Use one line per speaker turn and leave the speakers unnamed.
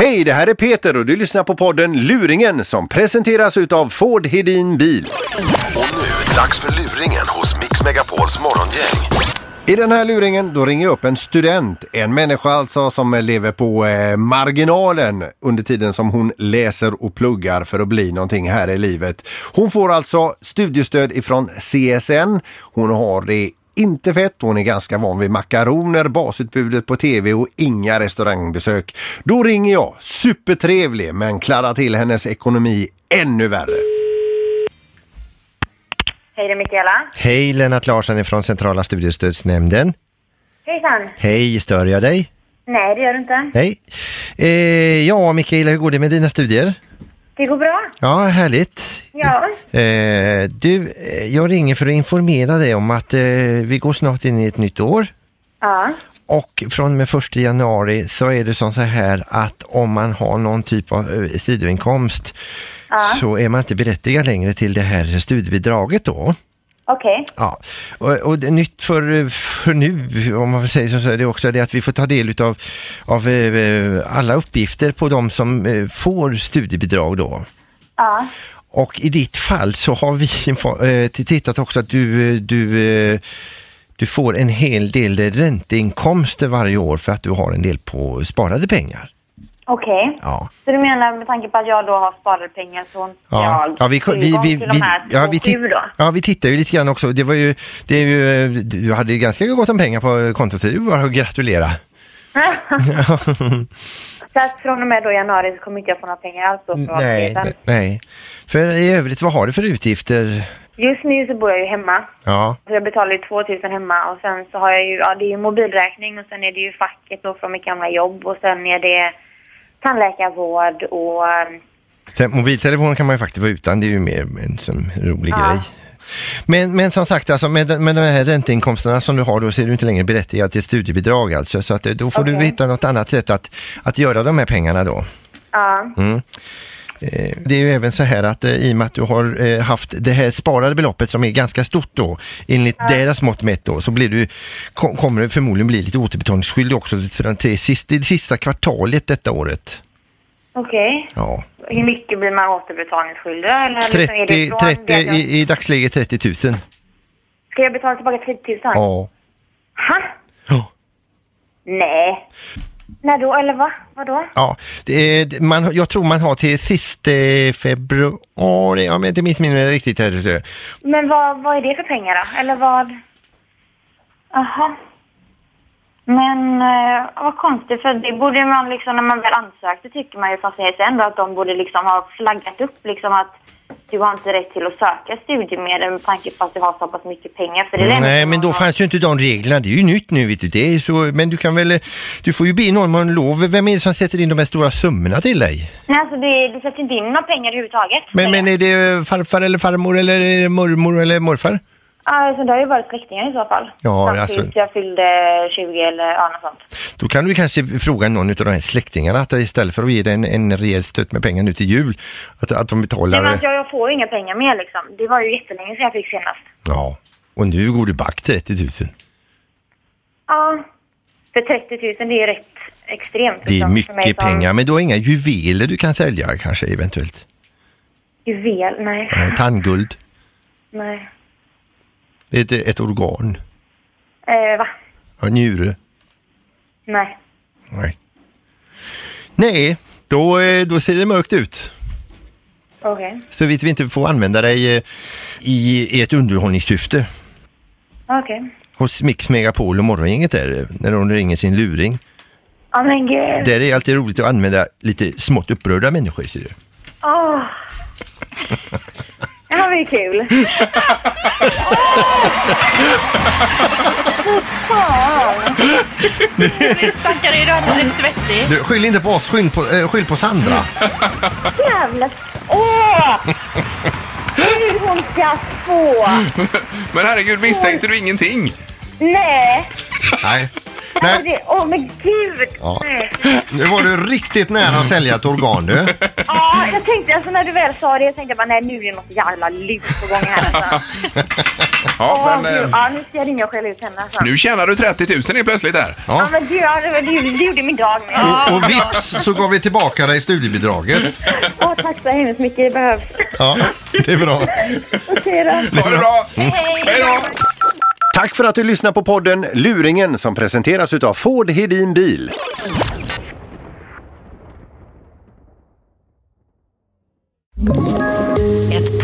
Hej, det här är Peter och du lyssnar på podden Luringen som presenteras utav Ford Hedin Bil.
Och nu, dags för luringen hos Mix Megapols morgongäng.
I den här luringen då ringer jag upp en student, en människa alltså som lever på eh, marginalen under tiden som hon läser och pluggar för att bli någonting här i livet. Hon får alltså studiestöd ifrån CSN. Hon har det inte fett, hon är ganska van vid makaroner, basutbudet på tv och inga restaurangbesök. Då ringer jag, supertrevlig, men klarar till hennes ekonomi ännu värre.
Hej, det är Mikaela.
Hej, Lennart Larsson från Centrala studiestödsnämnden.
Hejsan.
Hej, stör jag dig?
Nej, det gör du inte.
Nej. Eh, ja, Mikaela, hur går det med dina studier?
Det går bra.
Ja, härligt.
Ja.
Eh, du, eh, jag ringer för att informera dig om att eh, vi går snart in i ett nytt år.
Ja.
Och från och med 1 januari så är det som så här att om man har någon typ av eh, sidoinkomst så är man inte berättigad längre till det här studiebidraget då.
Okej.
Ja, och, och det är nytt för, för nu, om man säger så, så är det också det att vi får ta del utav, av eh, alla uppgifter på de som eh, får studiebidrag då.
Ja.
Och i ditt fall så har vi info- eh, t- tittat också att du, eh, du, eh, du får en hel del ränteinkomster varje år för att du har en del på sparade pengar.
Okej.
Ja.
Så du menar med tanke på att jag då har sparade pengar så
Ja, ja, vi,
tillgång
vi,
till
vi,
de
vi,
här
ja,
två
vi,
sju då?
titt, ja, vi tittar ju lite grann också. Det var ju, det är ju, du hade ju ganska gott om pengar på kontot, så det är bara att gratulera.
så att från och med då i januari så kommer inte jag få några pengar alls då från
Mm, Nej,
ATP:n.
nej. För i övrigt, vad har du för utgifter?
Just nu så bor jag ju hemma.
Ja,
Så jag betalar ju 2000 hemma och sen så har jag ju, ja det är ju mobilräkning och sen är det ju facket då från mitt gamla jobb och sen är det tandläkarvård och eh,
te- mobiltelefon kan man ju faktiskt vara utan, det är ju mer en sån rolig
Ja.
grej. Men, men som sagt, alltså med, de- med de här ränteinkomsterna som du har då så är du inte längre berättigad till studiebidrag alltså. Så att, eh, då får du
Okej.
hitta något annat sätt att, att göra de här pengarna då.
ja.
Eh, Det är ju även så här att eh, i och med att du har eh, haft det här sparade beloppet som är ganska stort då, enligt deras mått mätt då, så blir du, ko- kommer du förmodligen bli lite återbetalningsskyldig också för den till sist, det sista kvartalet detta året.
Okej.
Ja.
Hur mycket blir man återbetalningsskyldig? Eller liksom är
30,
det från
30
det att jag-
i, i dagsläget 30 000.
Ska jag betala tillbaka 30 000?
Ja.
Ha?
Ja.
Nej. När då? Eller va? Vadå?
Ja, det är, det- man, jag tror man har till sista februari, ja, men inte minst mindre riktigt här.
Men vad, vad är det för pengar då? Eller vad? Aha. Men eh, vad konstigt, för det borde man liksom, när man väl ansökte tycker man ju från CSN då att de borde liksom ha flaggat upp liksom att du har inte rätt till att söka studiemedel med tanke på att du har så pass mycket pengar. För det är det
Mm, Nej,
enda
men då
man-
fanns ju inte de reglerna. Det är ju nytt nu, vet du. Det är så, men du kan väl, eh, du får ju be någon om lov. Vem är det som sätter in de här stora summorna till dig?
Nej, alltså det, det sätts inte in några pengar överhuvudtaget.
Men, men är det farfar eller farmor eller är det mormor eller
Ja,
morfar?
Alltså, det har ju varit släktingar i så fall.
Ja,
Fram
alltså-
tills jag fyllde 20 eller ja, något sånt.
Då kan du kanske fråga någon av de här släktingarna att istället för att ge dig en, en rejäl stöt med pengar nu till jul, att, att de betalar.
Men alltså, jag, jag får ju inga pengar mer liksom. Det var ju jättelänge sedan jag fick senast.
Ja, och nu går du back 30 000.
Ja, för 30 000 det är ju rätt extremt.
Det
liksom, för
är
mig
mycket
som
pengar, men du har inga juveler du kan sälja kanske eventuellt.
Juvel, nej.
Ja, Tandguld,
nej.
ett, ett organ,
Eh, va?
en njure.
Nej.
Nej. Nej, då, eh, då ser det mörkt ut.
Okej.
Så vitt vi inte får använda dig eh, i ett underhållningssyfte
Okej.
hos Mix Megapol och Morgongänget där, eh, när de ringer sin luring.
Ja, men gud.
Där är det alltid roligt att använda lite smått upprörda människor, ser du.
Åh. Det här var ju kul.
Stackare, är du alldeles svettig?
du skyll inte på oss, skyll på, eh, skyll på Sandra.
Jävla... Åh! Hur hon ska få!
Men herregud, misstänkte du ingenting?
Nej!
Nej.
Åh,
Nej,
det- Åh, men gud!
Ja.
Nej.
nu var du riktigt nära att sälja ett organ du.
Ja, jag tänkte alltså när du väl sa det, jag tänkte bara nej nu är det något jävla lurt på gång här alltså.
Ja,
Åh,
men,
gud,
eh,
ja, nu ska jag ringa och skälla ut henne. Alltså.
nu tjänar du 30 000 helt plötsligt här.
Ja, men gud, ja, det, det, det gjorde min dag med.
Och vips så gav vi tillbaka dig studiebidraget.
Åh, tack så hemskt mycket, det behövs.
Ja, det är bra.
Okej då.
Ha det bra! Hej då!
Tack för att du lyssnar på podden Luringen som presenteras utav Ford Hedin Bil.
Ett